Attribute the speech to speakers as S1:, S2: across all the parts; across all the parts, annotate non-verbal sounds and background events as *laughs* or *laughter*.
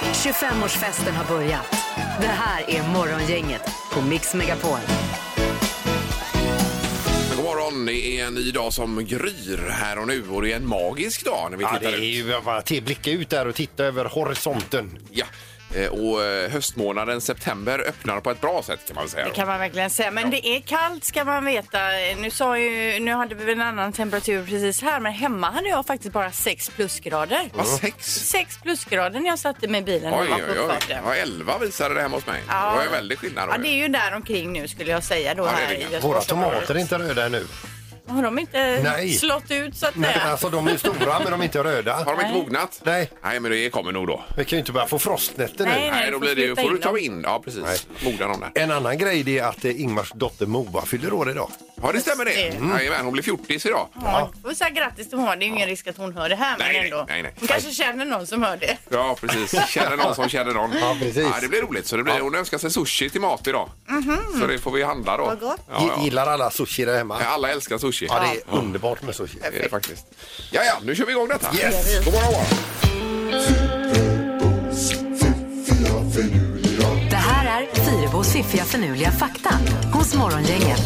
S1: 25-årsfesten har börjat. Det här är Morgongänget på Mix Megapol.
S2: God morgon, det är en ny dag som gryr här och nu och det är en magisk dag när vi
S3: Ja, det
S2: tittar
S3: är
S2: ut.
S3: ju bara att blicka ut där och titta över horisonten.
S2: Ja. Eh, Och eh, höstmånaden september öppnar på ett bra sätt kan man säga.
S4: Det kan man verkligen säga. Men det är kallt ska man veta. Nu, sa ju, nu hade vi väl en annan temperatur precis här men hemma hade jag faktiskt bara 6 plusgrader.
S2: Vad, sex?
S4: 6 plusgrader när jag satte mig i bilen och
S2: Oj,
S4: var
S2: oj,
S4: på
S2: oj.
S4: uppfarten.
S2: Ja, elva visade det hemma hos mig.
S4: Ja.
S2: Det var ju väldigt skillnad. då.
S4: Ja, det är ju där omkring nu skulle jag säga då
S2: Ja, det är
S4: här
S2: det.
S4: i
S3: Våra
S4: Göteborgsområdet.
S3: tomater är inte röda ännu.
S4: Har de inte
S3: Nej.
S4: slått ut så att säga?
S3: Nej, alltså de är stora men de är inte
S2: Har
S3: röda.
S2: de inte mognat?
S3: Nej.
S2: Nej, men det kommer nog då.
S3: Vi kan ju inte bara få frostnätter nu.
S4: Nej,
S2: Nej,
S4: du
S2: då
S4: får
S2: blir det ju,
S4: flytta
S2: får du
S4: in
S2: ta
S4: dem.
S2: in. Ja, precis. Mogna dem där.
S3: En annan grej det är att eh, Ingmars dotter Moa fyller år idag.
S2: Ja, det stämmer det.
S4: Just det.
S2: Mm. Jajamän, hon blir 40 idag.
S4: Ja, då får vi säga grattis till honom. Det är ju ingen risk att hon hör det här.
S2: Nej,
S4: men
S2: nej,
S4: ändå.
S2: nej, nej.
S4: Hon kanske känner någon som hör det.
S2: Ja, precis. Känner någon som känner någon.
S3: Ja, precis.
S2: det blir roligt. Så det blir, Hon önskar sig sushi till mat idag.
S4: Mhm.
S2: Så det får vi handla då.
S4: Vad gott.
S2: Ja, ja.
S3: Gillar alla sushi där hemma?
S2: Alla älskar sushi.
S3: Ja, det är underbart med sushi.
S2: Det är det faktiskt. Ja, ja, nu kör vi igång detta.
S3: Yes.
S2: God morgon, god morgon.
S1: Det här är Fyrebos fiffiga förnuliga fakta hos Morgongänget.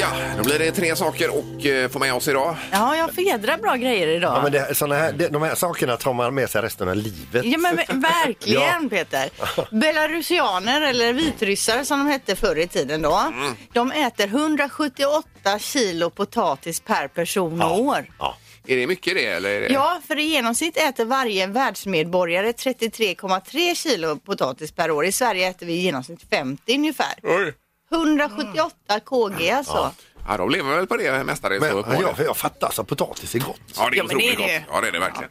S2: Ja, då blir det tre saker och eh, få med oss idag.
S4: Ja, jag får jädra bra grejer idag.
S3: Ja, men det, såna här, det, de här sakerna tar man med sig resten av livet.
S4: Ja
S2: *laughs*
S4: men ver- verkligen
S3: Ja.
S4: Peter. Belarusianer eller vitryssar som de hette förr i tiden då.
S2: Mm.
S4: De äter 178 kilo potatis per person och år.
S3: Ja.
S2: Är det mycket det? Eller är det...
S4: Ja, för i genomsnitt äter varje världsmedborgare 33,3 kilo potatis per år. I Sverige äter vi i genomsnitt 50 ungefär.
S2: Oj.
S4: 178 kg alltså.
S2: Ja, de lever väl på det mestadels.
S3: Men,
S2: då,
S3: ja,
S2: uppenbarligen.
S3: jag, jag fattar, alltså potatis är gott.
S2: ja, det är
S4: Ja, men det är
S2: otroligt
S4: det ju.
S2: gott. Ja, det är det verkligen.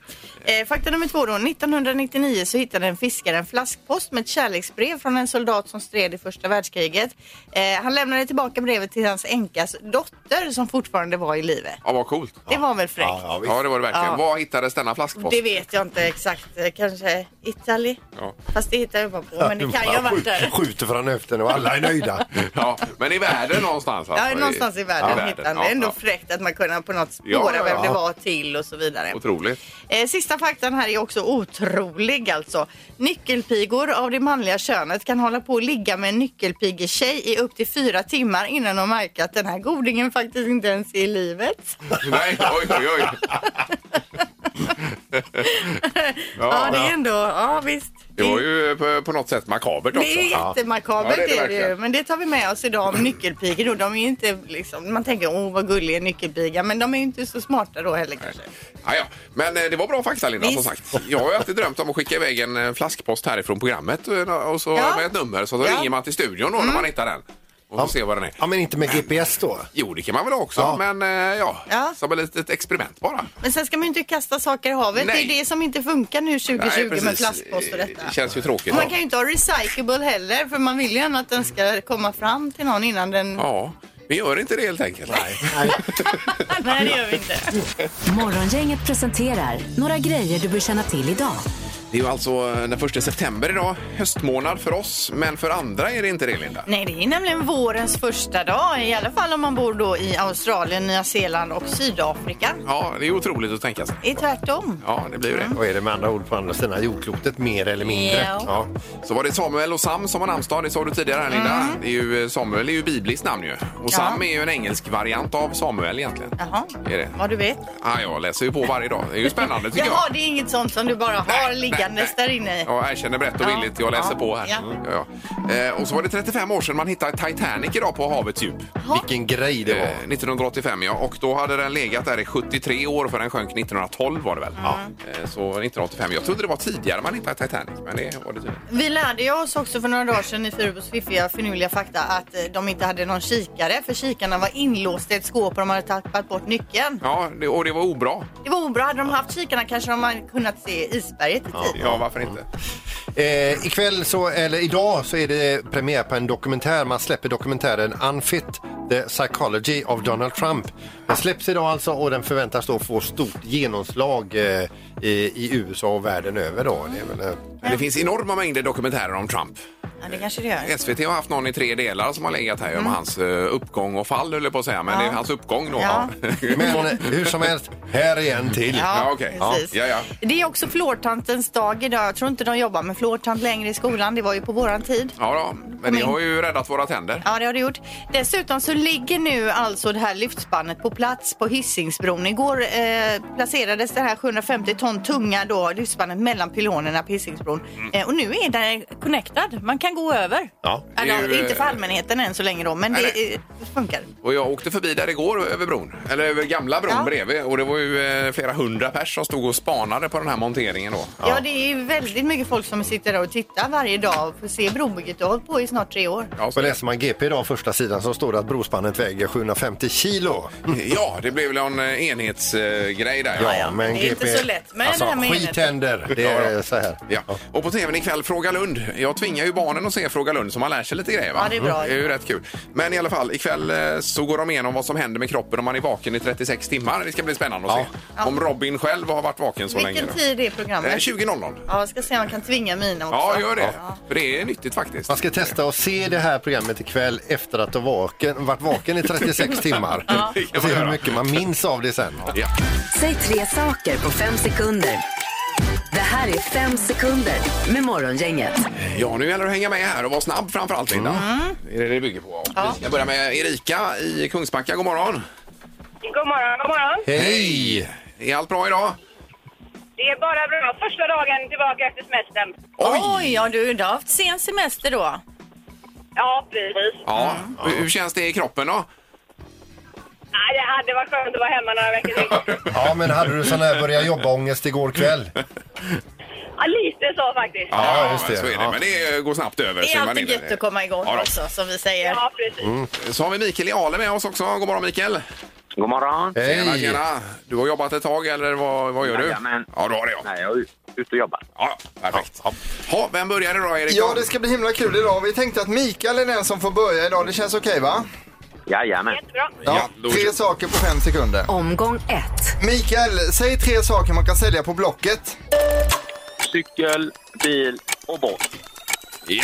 S4: Eh, fakta nummer två då. 1999 så hittade en fiskare en flaskpost med ett kärleksbrev från en soldat som stred i första världskriget. Eh, han lämnade tillbaka brevet till hans änkas dotter som fortfarande var i livet.
S2: Ja, vad coolt.
S4: Det var väl fräckt?
S3: Ja, ja, visst.
S2: Ja, det var det verkligen.
S4: Ja.
S2: Var hittades denna flaskpost?
S4: Det vet jag inte exakt. Eh, Kanske Italy?
S2: Ja.
S4: Fast det hittar jag bara på. Men det kan ju ha
S3: Man
S4: varit
S3: skjuter-
S4: där.
S3: Skjuter från höften och alla är nöjda.
S2: *laughs* Ja, men i världen någonstans alltså.
S4: Ja, någonstans i
S2: Ja,
S4: världen hittade han det. Ändå fräckt att man kunde på något
S2: Ja,
S4: spåra
S2: ja,
S4: vem det
S2: ja.
S4: var till och så vidare.
S2: Otroligt.
S4: Eh, Sista faktan här är också otrolig alltså. Nyckelpigor av det manliga könet kan hålla på att ligga med en nyckelpigetjej i upp till fyra timmar innan de märker att den här godingen faktiskt inte ens är i livet. *laughs*
S2: Nej, oj, oj, oj.
S4: Ja, det
S2: ja,
S4: är ändå, ja visst.
S2: det var ju på, på något sätt makabert också.
S4: Det är jättemakabert
S2: Ja, det är det
S4: är det ju.
S2: verkligen.
S4: Men det tar vi med oss idag om nyckelpigor. Då. De är ju inte liksom, man tänker åh vad gullig en nyckelpiga men de är ju inte så smarta då heller kanske.
S2: Ja, ja. Men eh, det var bra fakta, Linda, som
S4: Visst.
S2: sagt. Jag har ju alltid drömt om att skicka iväg en eh, flaskpost härifrån programmet eh, och så
S4: Ja.
S2: med ett nummer så då
S4: Ja. Mm.
S2: ringer man till studion då när man hittar den och så ser vad den är.
S3: Ja, men inte med GPS då?
S2: Jo, det kan man väl också,
S3: Ja.
S2: men eh, ja,
S4: Ja.
S2: som ett litet experiment bara.
S4: Men sen ska man ju inte kasta saker i havet.
S2: Nej.
S4: Det är det som inte funkar nu 2020 med plastpost och detta.
S2: Det känns ju tråkigt.
S4: Man kan ju inte ha recyclable heller för man vill ju gärna att den ska komma fram till någon innan den...
S2: Ja, vi gör inte det helt enkelt. Nej.
S4: *laughs* Nej, det gör vi inte.
S1: Morgongänget presenterar några grejer du bör känna till idag.
S2: Det är ju alltså eh, den första september idag, höstmånad för oss, men för andra är det inte det, Linda.
S4: Nej, det är nämligen vårens första dag, i alla fall om man bor då i Australien, Nya Zeeland och Sydafrika.
S2: Ja, det är otroligt att tänka sig.
S4: Det är tvärtom.
S2: Ja, det blir ju det.
S3: Vad är det med andra ord på andra sidan jordklotet, mer eller mindre?
S4: Ja.
S3: Ja.
S2: Så var det Samuel och Sam som har namnsdag, det sa du tidigare här Linda.
S4: Mm.
S2: Det är ju, eh, Samuel är ju bibliskt namn ju. Och Sam är ju en engelsk variant av Samuel egentligen.
S4: Jaha,
S2: Är det?
S4: vad du vet.
S2: Ah, jag läser ju på varje dag. Det är ju spännande tycker
S4: Jaha,
S2: jag.
S4: det är inget sånt som du bara
S2: Nej,
S4: har
S2: nej,
S4: liggandes
S2: nej.
S4: där inne i.
S2: Jag erkänner brett och
S4: Ja,
S2: villigt, jag läser
S4: ja,
S2: på här.
S4: ja.
S2: Mm, Ja. Ja, Eh, och så var det 35 år sedan man hittade Titanic idag på havets djup.
S3: Vilken grej det
S2: Eh,
S3: var.
S2: 1985 ja, och då hade den legat där i 73 år för den sjönk 1912 var det väl? Eh, Så 1985, jag trodde det var tidigare man hittade Titanic men det var det tydligen.
S4: Vi lärde ju oss också för några dagar sedan i Furubos fiffiga finurliga fakta att eh, de inte hade någon kikare för kikarna var inlåsta i ett skåp och de hade tappat bort nyckeln.
S2: Ja, det, och det var obra.
S4: Det var obra. Hade de haft kikarna kanske de hade kunnat se isberget i tid.
S2: Ja, varför inte?
S3: Eh, ikväll så, eller idag så är det premiär på en dokumentär. Man släpper dokumentären Unfit, The Psychology of Donald Trump. Den släpps idag alltså och den förväntas då få stort genomslag eh, i, i USA och världen över. Då. Det är väl, eh,
S2: Men det finns enorma mängder dokumentärer om Trump.
S4: Ja, det kanske det gör.
S2: SVT har haft någon i tre delar som har legat här om hans eh, uppgång och fall, höll jag på att säga. Men det är hans uppgång då.
S4: Mm.
S2: *laughs*
S4: Ja.
S3: Men eh, hur som helst, här är en till.
S2: Ja, okej. Ja.
S4: precis.
S2: Ja, ja.
S4: Det är också flårtantens dag idag. Jag tror inte de jobbar med flårtant längre i skolan. Det var ju på våran tid.
S2: ja då. men det har ju räddat våra tänder.
S4: Ja, det har det gjort. Dessutom så ligger nu alltså det här lyftspannet på plats på Hisingsbron. Igår eh, placerades det här 750 ton tunga då, lyftspannet mellan pylonerna på Hisingsbron.
S2: Mm.
S4: Eh, och nu är den connectad. Man kan gå över.
S3: Ja.
S2: Det är
S4: Eller,
S2: ju,
S4: inte för
S2: eh,
S4: allmänheten än så länge då, men
S2: nej,
S4: det eh, funkar.
S2: Och jag åkte förbi där igår över bron, eller över gamla bron
S4: Ja.
S2: bredvid och det var ju eh, flera hundra pers som stod och spanade på den här monteringen då.
S4: Ja. det är ju väldigt mycket folk som sitter där och tittar varje dag och får se brobygget. Det har hållit på i snart tre år.
S2: Ja,
S3: Så
S2: så det,
S3: läser man GP idag, första sidan, så står det att brospannet väger 750 kilo.
S2: *laughs* ja, det blev väl en eh, enhetsgrej där.
S3: Ja,
S2: ja.
S3: men
S5: det är inte
S3: GP
S5: så lätt, men
S3: alltså,
S5: det här med
S3: skit
S5: enhet.
S3: händer. Det
S2: Ja,
S3: är
S2: ja.
S3: så här.
S2: Ja. Och på tvn ikväll Fråga Lund. Jag tvingar ju barnen att se Fråga Lund så man lär sig lite grejer. Va?
S4: Ja, det är bra.
S2: Det är ju rätt kul. Men i alla fall, ikväll eh, så går de igenom vad som händer med kroppen om man är vaken i 36 timmar. Det ska bli spännande att
S3: Ja.
S2: se. Om Robin själv har varit vaken så
S4: Vilken
S2: länge. då.
S4: tid är
S2: Eh,
S4: programmet?
S2: 20.00.
S4: Ja, jag ska se om jag kan tvinga mina också.
S2: Ja, gör det. För det är nyttigt faktiskt.
S3: Man ska testa och se det här programmet ikväll efter att ha vaken, varit vaken i 36 timmar.
S2: Det kan
S3: Och se
S2: man göra.
S3: hur mycket man minns av det sen.
S2: Ja.
S1: Säg tre saker på fem sekunder. Det här är fem sekunder med Morgongänget.
S2: ja, nu gäller det att hänga med här och vara snabb framförallt Linda. Det är det det bygger på. Och Vi ska börja med Erika i Kungsbacka. God morgon!
S6: God morgon, god morgon.
S3: Hej!
S2: Är allt bra idag?
S6: Det är bara bra. Första dagen tillbaka efter semestern.
S5: Oj, ja, du, du har haft sen semester då.
S6: Ja, precis.
S2: Ja. Hur- Hur känns det i kroppen då?
S6: Nej, det hade varit skönt att vara hemma några veckor till.
S3: Ja, men hade du sån här börja jobba-ångest igår kväll?
S6: Ja, lite så faktiskt.
S3: Ja, just det.
S2: Så är det.
S3: Ja.
S2: Men det går snabbt över.
S4: Det
S2: så
S4: är
S2: man
S4: alltid
S2: in i det.
S4: gött att komma igång
S2: Ja, då. Mm.
S4: också, som vi säger.
S6: Ja, precis.
S2: Så har vi Mikael i Ale med oss också. God morgon Mikael!
S7: God morgon.
S2: Tjena,
S3: Hej!
S2: tjena! Du har jobbat ett tag eller vad, vad gör du?
S7: Jajamän.
S2: Ja, då har det jag.
S7: Nej, jag är ute och jobbar.
S2: Ja, perfekt. Ja. Ha, vem börjar idag Erik?
S8: Ja, det ska bli himla kul idag. Vi tänkte att Mikael är den som får börja idag. Det känns okej va?
S7: Jajamän.
S6: Jättebra.
S2: Ja,
S8: Ja,
S2: då-
S8: tre saker på fem sekunder.
S1: Omgång ett.
S8: Mikael, säg tre saker man kan sälja på Blocket.
S7: Cykel, bil och båt.
S2: Ja.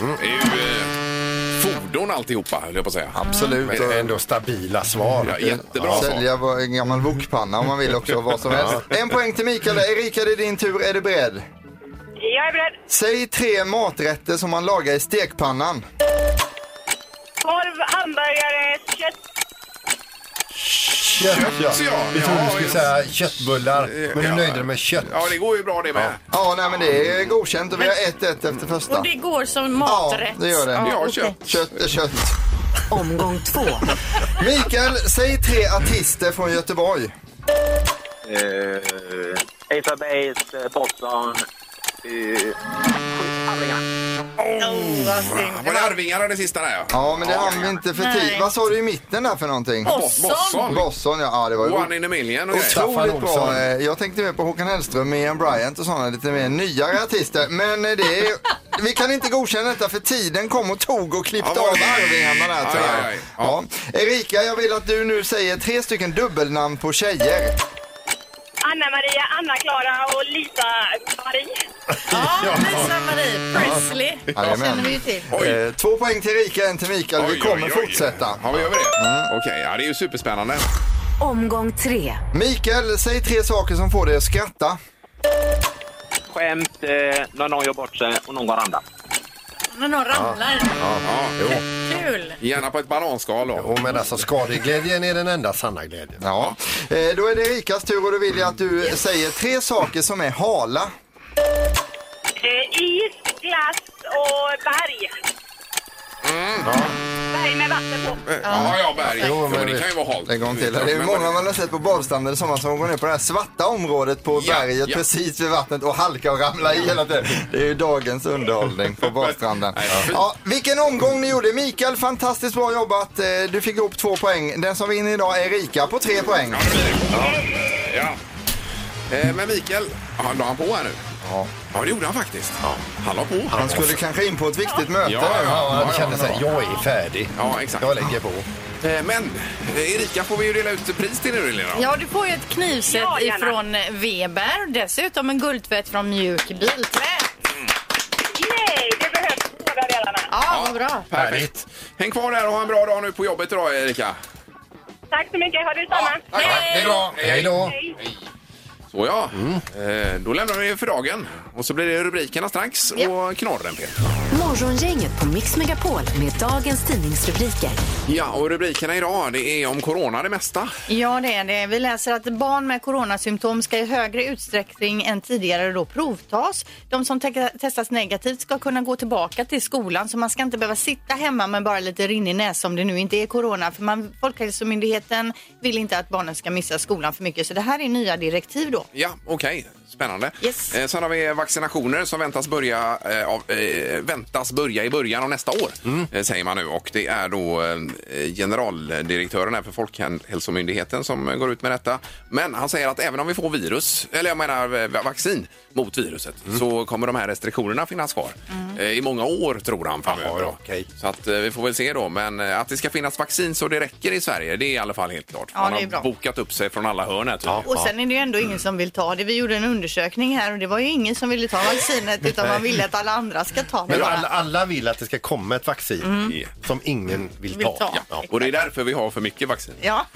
S2: Mm, Det är ju eh, fordon alltihopa höll jag på att säga.
S8: Absolut.
S3: Men ändå stabila svar.
S2: Ja, jättebra svar.
S8: Sälja vår- en gammal wokpanna om man vill också, vad
S2: *laughs*
S8: som helst. En poäng till Mikael. Erika, det är din tur. Är du beredd?
S6: Jag är beredd.
S8: Säg tre maträtter som man lagar i stekpannan.
S6: Korv, hamburgare, kött.
S3: Kött, ja.
S2: Så ja,
S3: Vi trodde du skulle
S2: ja,
S3: säga köttbullar, men du
S2: ja.
S3: nöjde dig med kött.
S2: Ja, det går ju bra det med.
S8: Ja, nej men det är godkänt och vi har 1-1 efter första.
S5: Och det går som
S8: Ja,
S5: maträtt.
S8: det gör
S2: Ja,
S8: det.
S2: kött.
S8: Kött är kött.
S1: Omgång två.
S8: Mikael, säg tre artister från Göteborg.
S7: Eh, Ace Base, Boston. Eh, Arvingarna.
S2: Var det Arvingarna det sista där ja?
S8: Ja, men det hann vi inte för tid.
S5: Nej.
S8: Vad sa du i mitten där för någonting?
S5: Bosson.
S2: Bosson.
S8: Boston, ja. ja det var ju
S2: One in a million och grejer.
S3: Staffan
S8: otroligt
S3: Olsson.
S8: bra. Eh, Jag tänkte mer på Håkan Hellström, Miriam Bryant och sådana lite mer nyare artister. Men eh, det är... Vi kan inte godkänna detta för tiden kom och tog och klippte
S2: Ja,
S8: av
S2: vad-
S8: arvingarna där tror
S2: Aj, aj,
S8: jag.
S2: aj. Ja.
S8: Ja. Erika, jag vill att du nu säger tre stycken dubbelnamn på tjejer.
S6: Anna-Maria, Anna-Klara och Lisa-Marie.
S5: Ja, Lisa-Marie Presley.
S8: Jajamän.
S4: känner vi ju till.
S2: Oj.
S8: Eh, Två poäng till Erika, en till Mikael.
S2: Oj,
S8: vi kommer
S2: oj, oj.
S8: fortsätta. Mm.
S2: Ja, vi gör det. Okej, ja, det är ju superspännande.
S1: Omgång tre.
S8: Mikael, säg tre saker som får dig att skratta.
S7: Skämt, eh, när någon gör bort sig och någon går andra.
S5: När någon ramlar.
S2: Ja,
S5: Kul!
S2: gärna på ett bananskal då.
S3: Och men alltså skadeglädjen är den enda sanna glädjen.
S8: Ja. Eh, Då är det Erikas tur och då vill jag att du säger tre saker som är hala.
S2: Mm.
S6: Eh, Is, glass och berg. Berg med vatten på.
S2: Ja, ja, berg.
S3: Jo,
S2: Jo,
S3: men
S2: men det kan ju vara halt.
S8: En gång till. Det är
S2: Men-
S8: många man har sett på badstränder i sommar som går ner på det här svarta området på
S2: Ja,
S8: berget
S2: ja.
S8: precis vid vattnet och halkar och ramlar i hela tiden. Det är ju dagens underhållning
S3: *laughs*
S8: på badstranden.
S2: Nej, fy.
S8: Ja, vilken omgång ni gjorde. Mikael, fantastiskt bra jobbat. Eh, Du fick ihop två poäng. Den som vinner idag är Erika på tre poäng.
S2: Ja. Eh, Men Mikael, han la han på här nu?
S8: Ja.
S2: Ja, det gjorde han faktiskt. Han la på.
S8: Han skulle kanske in på ett viktigt möte.
S2: Ja, ja, ja.
S3: Han kände sig, jag är färdig.
S2: Ja, exakt.
S3: Jag lägger på.
S2: Eh, Men eh, Erika får vi ju dela ut pris till nu, Lena.
S5: Ja, du får ju ett knivset
S6: Ja, gärna.
S5: ifrån
S4: eh,
S5: Weber. Dessutom en guldtvätt från Mjuk Biltvätt.
S6: Nej, det behövs.
S4: Fan vad bra.
S2: Perfekt. Häng kvar där och ha en bra dag nu på jobbet idag Erika.
S6: Tack så mycket, ha detsamma.
S2: Tack.
S3: Det är bra. Hej då.
S6: Hej.
S2: Så ja, eh, då lämnar vi för dagen. Och så blir det rubrikerna strax och knorren Peter.
S1: Morgongänget på Mix Megapol med dagens tidningsrubriker.
S2: Ja, och rubrikerna idag det är om corona det mesta.
S4: Ja, det är det. Vi läser att barn med coronasymptom ska i högre utsträckning än tidigare då provtas. De som te- testas negativt ska kunna gå tillbaka till skolan så man ska inte behöva sitta hemma med bara lite rinnig näsa om det nu inte är corona. För man, Folkhälsomyndigheten vill inte att barnen ska missa skolan för mycket så det här är nya direktiv då.
S2: Ja, okej. Spännande.
S4: Yes.
S2: Eh, sen har vi vaccinationer som väntas börja, eh, av, eh, väntas börja i början av nästa år,
S4: Mm.
S2: eh, säger man nu. Och det är då eh, generaldirektören här för Folkhälsomyndigheten som eh, går ut med detta. Men han säger att även om vi får virus, eller jag menar eh, vaccin mot viruset,
S4: Mm.
S2: så kommer de här restriktionerna finnas kvar eh, i många år, tror han, framöver. då.
S3: okej.
S2: Så att eh, vi får väl se då. Men eh, att det ska finnas vaccin så det räcker i Sverige, det är i alla fall helt klart.
S4: Ja,
S2: man
S4: det är
S2: har
S4: bra.
S2: bokat upp sig från alla hörn här, tydligen.
S4: Och sen är det ju ändå ingen som vill ta det. Vi gjorde en undersökning här och det var ju ingen som ville ta vaccinet utan man ville att alla andra ska ta det
S3: Men alla,
S4: bara.
S3: alla vill att det ska komma ett vaccin
S2: Ja.
S3: som ingen vill
S4: Vill
S3: ta.
S4: ta.
S3: Ja.
S2: Och det är därför vi har för mycket vaccin.
S4: Ja.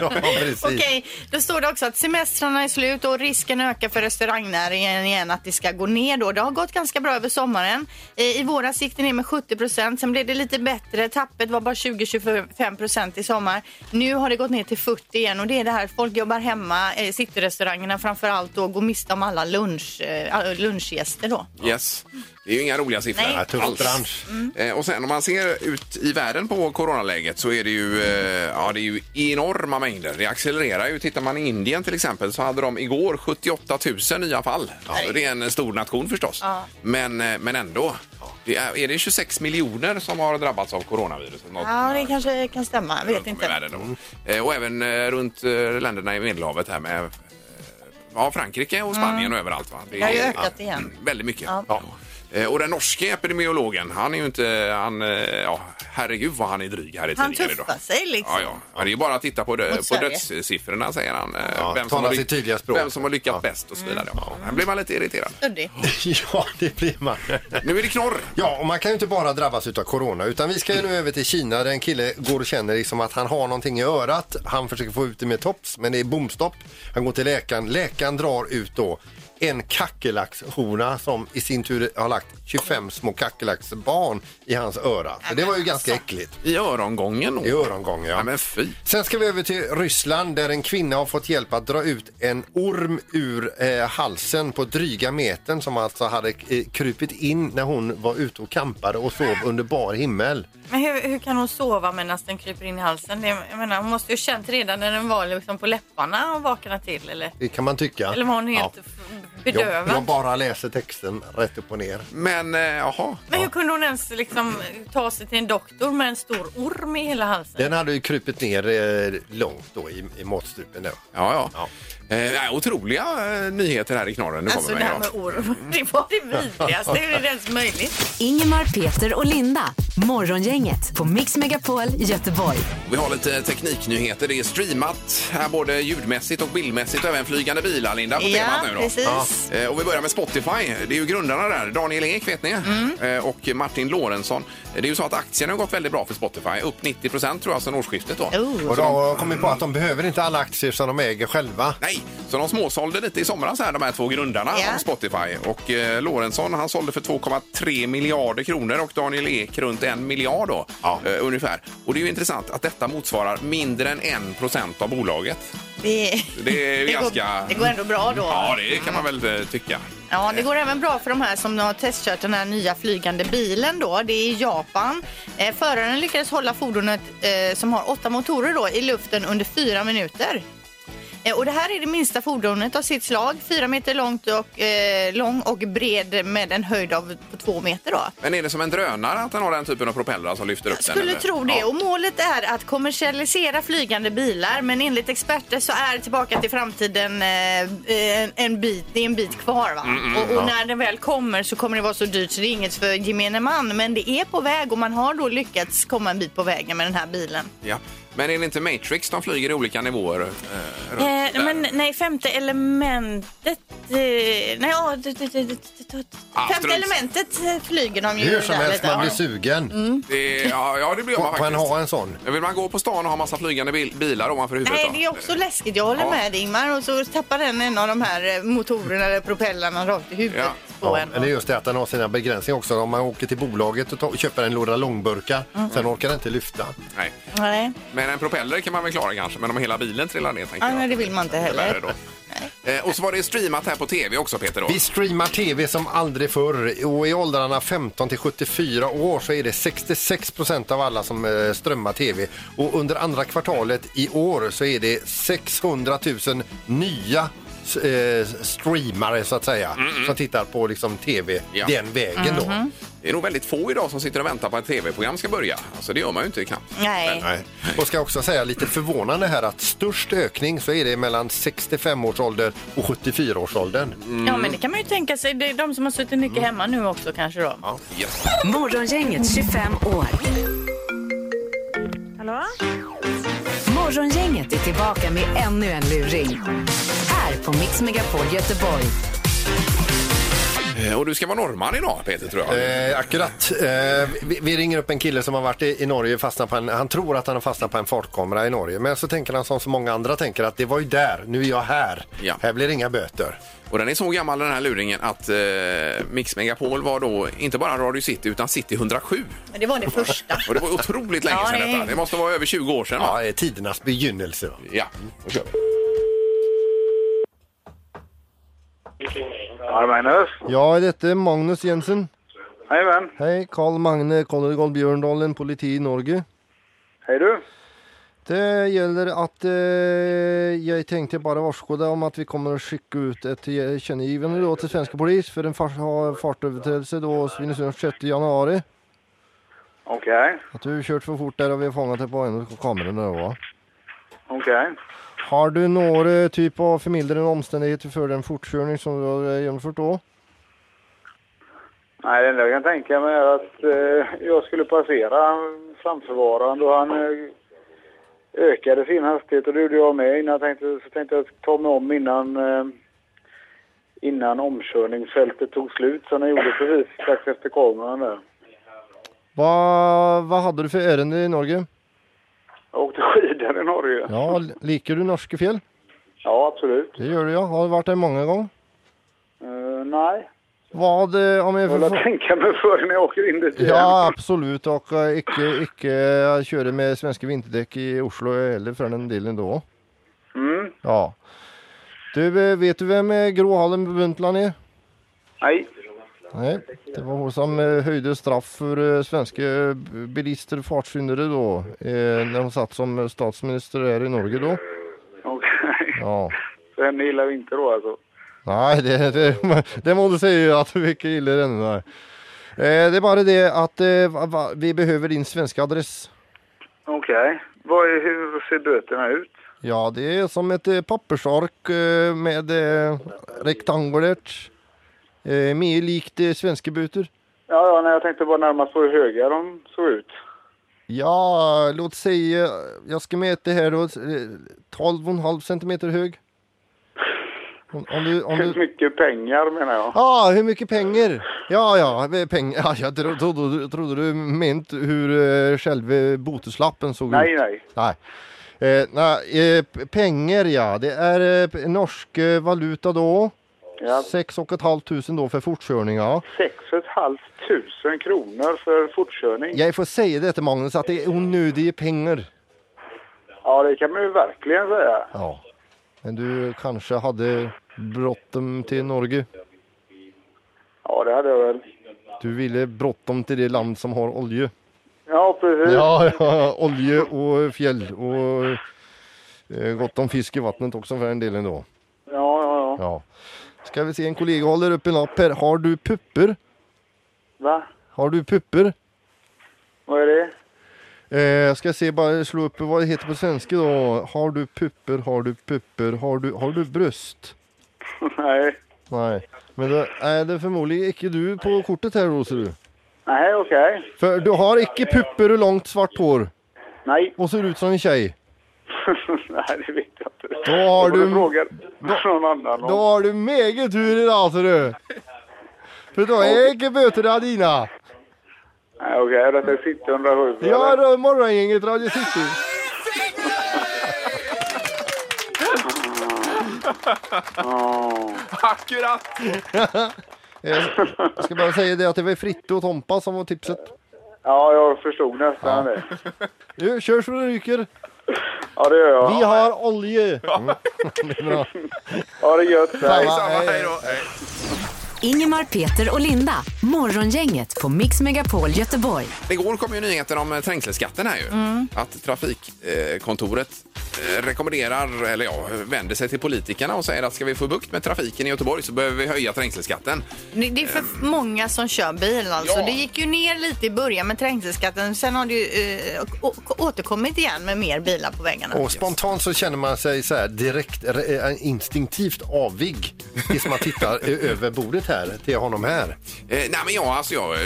S3: ja, precis.
S4: Okej, då står det också att semestrarna är slut och risken ökar för restaurangnäringen igen att det ska gå ner då. Det har gått ganska bra över sommaren. Eh, I våras gick det ner med 70 procent, sen blev det lite bättre. Tappet var bara 20-25 procent i sommar. Nu har det gått ner till 40 igen och det är det här folk jobbar hemma, eh, cityrestaurangerna framför allt och går miste om alla lunch, eh, all- lunchgäster då.
S2: Yes. Det är ju inga roliga siffror.
S4: Nej. Mm.
S3: Ja, tuff
S2: alls.
S3: bransch.
S2: Eh, och sen om man ser ut i världen på coronaläget så är det ju, eh, ja, det är ju enorma mängder. Det accelererar ju. Tittar man i Indien till exempel så hade de igår 78 000 nya fall. Alltså, det är en stor nation förstås.
S4: Ja.
S2: Men, eh, men ändå. Det är, är det 26 miljoner som har drabbats av coronaviruset? Något
S4: Ja, det kanske kan stämma. Jag vet
S2: runt om i
S4: inte.
S2: världen. Då. Eh, Och även eh, runt eh, länderna i Medelhavet här med eh, ja, Frankrike och Spanien och överallt. Va?
S4: Mm. Det har ju
S2: är- Mm,
S4: ökat igen.
S2: Väldigt mycket.
S4: Ja.
S2: Ja. Eh, Och den norske epidemiologen, han är ju inte, han, eh, ja, herregud vad han är dryg här i
S4: Han
S2: tidningen idag.
S4: tuffar sig liksom.
S2: Ja, ja. ja, det är ju bara att titta på, dö-
S4: Mot
S2: på
S4: Sverige.
S2: dödssiffrorna säger han. Eh,
S3: Ja,
S2: som
S3: talar
S2: har ly-
S3: sitt tydliga språk.
S2: vem som har lyckats
S3: Ja. Mm.
S2: bäst och så vidare. Ja, här blir man lite irriterad.
S4: Suddig.
S3: *laughs* Ja, det blir man.
S2: Nu är det knorr.
S3: Ja, och man kan ju inte bara drabbas utav corona utan vi ska ju nu över till Kina där en kille går och känner liksom att han har någonting i örat. Han försöker få ut det med tops men det är bomstopp. Han går till läkaren. Läkaren drar ut då en kackerlackshona som i sin tur har lagt 25 små kackerlacksbarn i hans öra. Så det var ju ganska
S5: alltså.
S3: äckligt.
S2: I örongången då.
S3: I örongången,
S2: Ja,
S3: ja.
S2: men fy.
S3: Sen ska vi över till Ryssland där en kvinna har fått hjälp att dra ut en orm ur eh, halsen på dryga metern som alltså hade eh, krupit in när hon var ute och kampade och sov
S5: Ah.
S3: under bar himmel.
S5: Men hur, hur kan hon sova medan den kryper in i halsen? Det, jag menar, hon måste ju ha känt redan när den var liksom på läpparna och vaknade till. Eller,
S3: Det kan man tycka.
S5: eller var hon helt f- bedövad?
S3: Jag, jag bara läser texten rätt upp och ner.
S2: Men, eh, jaha.
S5: Men hur kunde hon ens liksom ta sig till en doktor med en stor orm i hela halsen?
S3: Den hade ju krupit ner eh, långt då i, i matstrupen. Då.
S2: Ja, ja. Eh, nej, otroliga eh, nyheter här i knorren. Nu
S5: Alltså
S2: kommer
S5: det här
S2: med
S5: med
S2: idag.
S5: orm, det var det vidrigaste. Hur är det ens möjligt?
S1: Ingemar, Peter och Linda. Morgongänget på Mix Megapol Göteborg.
S2: Vi har lite tekniknyheter. Det är streamat här både ljudmässigt och bildmässigt och även flygande bilar, Linda, på
S4: Ja,
S2: temat nu då.
S4: precis.
S2: Eh, Och vi börjar med Spotify. Det är ju grundarna där, Daniel Ek vet ni,
S4: Mm.
S2: eh, och Martin Lorentzon. Det är ju så att aktien har gått väldigt bra för Spotify, upp 90 procent tror jag sedan årsskiftet då.
S4: Oh.
S3: Och då har jag kommit på att de behöver inte alla aktier som de äger själva.
S2: Nej, så de småsålde lite i somras här, de här två grundarna
S4: Ja.
S2: av Spotify. Och eh, Lorentzon han sålde för 2,3 miljarder kronor och Daniel Ek runt 1 miljard då, eh, ungefär. Och det är ju intressant att detta motsvarar mindre än 1 procent av bolaget.
S4: *laughs* Det,
S2: Det är ju ganska...
S4: går, det går ändå bra då. Mm.
S2: Ja, det kan man väl eh, tycka.
S4: Ja, det går även bra för de här som har testkört den här nya flygande bilen då. Det är i Japan. Eh, föraren lyckades hålla fordonet eh, som har åtta motorer då i luften under fyra minuter. Eh, och det här är det minsta fordonet av sitt slag. Fyra meter långt och, eh, lång och bred med en höjd av på två meter då.
S2: Men är det som en drönare att den har den typen av propellrar som lyfter upp
S4: Jag
S2: den?
S4: skulle
S2: eller?
S4: tro det.
S2: Ja.
S4: Och målet är att kommersialisera flygande bilar. Men enligt experter så är Tillbaka till framtiden eh, en, en bit, det är en bit kvar.
S9: Mm,
S4: Va? och och när den väl kommer så kommer det vara så dyrt så det är inget för gemene man. Men det är på väg och man har då lyckats komma en bit på vägen med den här bilen.
S2: Ja. Men är det inte Matrix de flyger i olika nivåer? Eh, runt
S5: Eh,
S2: där?
S5: men, nej, femte elementet
S4: eh, nej, ja, d- d- d- d- d- d-
S2: Ah,
S4: Femte
S2: strunt.
S4: elementet eh, flyger de ju
S9: Hur som
S4: där
S9: helst,
S4: lite. Mm.
S9: man blir
S4: Ja.
S9: sugen
S2: Det, ja, ja, det blir man
S9: på, på en
S2: faktiskt.
S9: ha en sån.
S2: Vill man gå på stan och ha massa flygande bil, bilar ovanför huvudet?
S4: Nej,
S2: då?
S4: det är också läskigt. Jag håller
S2: Ja.
S4: med dig, Ingmar. Och så tappar den en av de här eh, motorerna eller propellerna rakt i huvudet
S2: Ja.
S4: på
S9: Ja,
S4: en.
S9: eller just det att den har sina begränsningar också. Om man åker till bolaget och tar, köper en låda långburkar, sen orkar den inte lyfta.
S2: Nej.
S4: Nej.
S2: Men en propeller kan man väl klara kanske, men om hela bilen trillar ner tänker
S4: Ja,
S2: jag.
S4: nej, det vill man inte heller.
S2: Värre då. Eh, och så var det streamat här på tv också Peter då.
S9: Vi streamar tv som aldrig förr och i åldrarna 15 till 74 år så är det 66 procent av alla som eh, strömmar tv och under andra kvartalet i år så är det 600 000 nya eh, streamare så att säga som tittar på liksom tv
S2: Ja.
S9: den vägen
S10: Mm-hmm.
S9: då.
S2: Det är nog väldigt få idag som sitter och väntar på att ett tv-program ska börja. Alltså det gör man ju inte knappt.
S3: mm.
S4: Nej.
S9: Nej. Och ska också säga lite förvånande här att störst ökning så är det mellan 65 års ålder och 74 års åldern.
S11: Mm. Ja, men det kan man ju tänka sig. Det är de som har suttit mycket hemma nu också kanske då.
S2: Yes.
S1: Morgongänget 25 år.
S12: Hallå?
S1: Morgongänget är tillbaka med ännu en luring. Här på Mix Megapol Göteborg.
S2: Eh, Och du ska vara norrman idag Peter tror jag.
S9: Eh, akkurat. Eh, vi, vi ringer upp en kille som har varit i, i Norge fastnat på en, han tror att han har fastnat på en fartkamera i Norge. Men så tänker han som så många andra tänker att det var ju där, nu är jag här.
S2: Ja.
S9: Här blir det inga böter.
S2: Och den är så gammal den här luringen att eh, Mix Megapol var då inte bara Radio City utan City 107.
S4: Men det var det första.
S2: Och det var otroligt länge
S4: Ja,
S2: sedan
S4: det är-
S2: detta. Det måste vara över 20 år sedan va?
S9: Ja, det är tidernas begynnelse. då.
S2: Ja, då kör vi.
S10: Ja, Magnus.
S3: Ja, dette er Magnus Jensen.
S10: Hej vän.
S3: Hei, Karl Magne Kollergold Bjørndalen, politi i Norge.
S10: Hej du.
S3: Det gjelder at eh, jeg tenkte bare varsko deg om at vi kommer å skikke ut eh, et kjennegivende da, til svenske polis for en fars- ha- fartøvertredelse da Svinesund 6. januari.
S10: Okej,
S3: At du kjørte for fort der, og vi har fanget deg på en av kameraene. da, va?
S10: okej.
S3: Har du noen type av formildrende omstendigheter før den fortkjøring som du har eh, gjennomført da?
S10: Nej, det enda jag kan tänka mig är att eh, jag skulle passera framförvarande och han eh, ökade sin hastighet och det gjorde jag med innan jag tänkte, så tänkte jag ta mig om innan eh, innan omkörningsfältet tog slut som jag gjorde precis strax efter kameran där.
S3: Hva, hva hadde du for ærende i Norge?
S10: Jag åkte skidor i Norge. Ja,
S3: Ja, liker du norske fjell?
S10: absolut.
S3: Det gör du ja. Har du varit där många gånger?
S10: Eh, nej,
S3: Vad eh, om jag
S10: jag
S3: får...
S10: vill tänka mig för när jag åker in dit igen.
S3: Ja, absolut. Och eh, icke, icke köra med svenska vinterdäck i Oslo eller för den delen då.
S10: Mm.
S3: Ja. Du, eh, vet du vem eh, Gro Harlem Brundtland är?
S10: Nej.
S3: Nej, det var hon som eh, höjde straff för eh, svenska eh, bilister och fartsyndare då. eh, När hon satt som eh, statsminister här i Norge då.
S10: Okej.
S3: Ja.
S10: Så henne gillar vi inte då alltså.
S3: Nej, det, det, *laughs* det må du säga att du inte gillar ännu. där. Eh, det är bara det att eh, va, va, vi behöver din svenska adress.
S10: Okej. Vad är, hur ser böterna ut?
S3: Ja, det är som ett eh, pappersark eh, med eh, rektangulärt. Eh, mer likt eh, svenska böter.
S10: Ja, ja, nej, jag tänkte bara närmast på hur höga de såg ut.
S3: Ja, låt säga, jag ska mäta här då, eh, 12,5 centimeter hög. Om, om du, om du,
S10: Hur mycket pengar menar jag.
S3: Ja, ah, hur mycket pengar? Ja, ja, eh, pengar. Ja, jag tro- trodde, trodde du ment hur uh, själva boteslappen såg
S10: Nej,
S3: ut.
S10: nej.
S3: Nej. Eh, nej, eh, p- pengar ja, det är eh, p- norsk eh, valuta då.
S10: Ja.
S3: Sex och ett halvt tusen då för fortkörning. Ja.
S10: 6 tusen kronor för fortkörning. Ja.
S3: Jag får säga det till Magnus att det är onödiga pengar.
S10: det kan man ju verkligen säga.
S3: Ja. Men du kanske hade bråttom till Norge.
S10: Ja, det hade jag väl.
S3: Du ville bråttom till det land som har olja.
S10: Ja, precis. Ja.
S3: Ja, ja, olje och fjäll och eh, gott om fisk i vattnet också för en delen då.
S10: Ja, ja,
S3: Ja. Ska vi se, en kollega håller upp en lapp här. Har du pupper?
S10: Va?
S3: Har du pupper?
S10: Vad är det?
S3: Eh, ska se, bara slå upp vad det heter på svenska då. Har du pupper, har du pupper, har du, har du bröst?
S10: *laughs* nej.
S3: Nej, men det är det förmodligen icke du på kortet här då ser du.
S10: Nej, okej. *laughs*
S3: För du har icke pupper och långt svart hår
S10: Nej.
S3: och ser ut som en tjej.
S10: Nej, det vet jag inte.
S13: Då har
S10: Jag får
S13: du-
S10: fråga någon annan. om-
S13: Då har du mega tur idag ser du. För då är inte böterna dina.
S10: Nej, okej, okay, detta är City 107.
S13: Ja, då är morgongänget Radio City.
S2: Akkurat!
S13: Eh, Jag ska bara säga det att det var Fritte och Tompa som var tipset.
S10: Ja, jag förstod nästan det.
S13: Du, kör så du ryker.
S10: Ja, det gör jag.
S13: Vi har olje.
S8: *laughs*
S13: Mm. Det är bra.
S10: Ha det gött.
S1: Ingemar, Peter och Linda. Morgongänget på Mix Megapol Göteborg.
S2: Igår kom ju nyheten om eh, trängselskatten här ju.
S4: Mm.
S2: Att trafikkontoret eh, rekommenderar, eller ja, vänder sig till politikerna och säger att ska vi få bukt med trafiken i Göteborg så behöver vi höja trängselskatten.
S4: Det det är för många som kör bil alltså. Det gick ju ner lite i början med trängselskatten. Sen har det ju eh, å- återkommit igen med mer bilar på vägarna.
S3: Och spontant så känner man sig så här direkt re- eh, instinktivt avig tills man tittar ö- över bordet här till honom här.
S2: Eh, nej men jag, alltså, jag eh,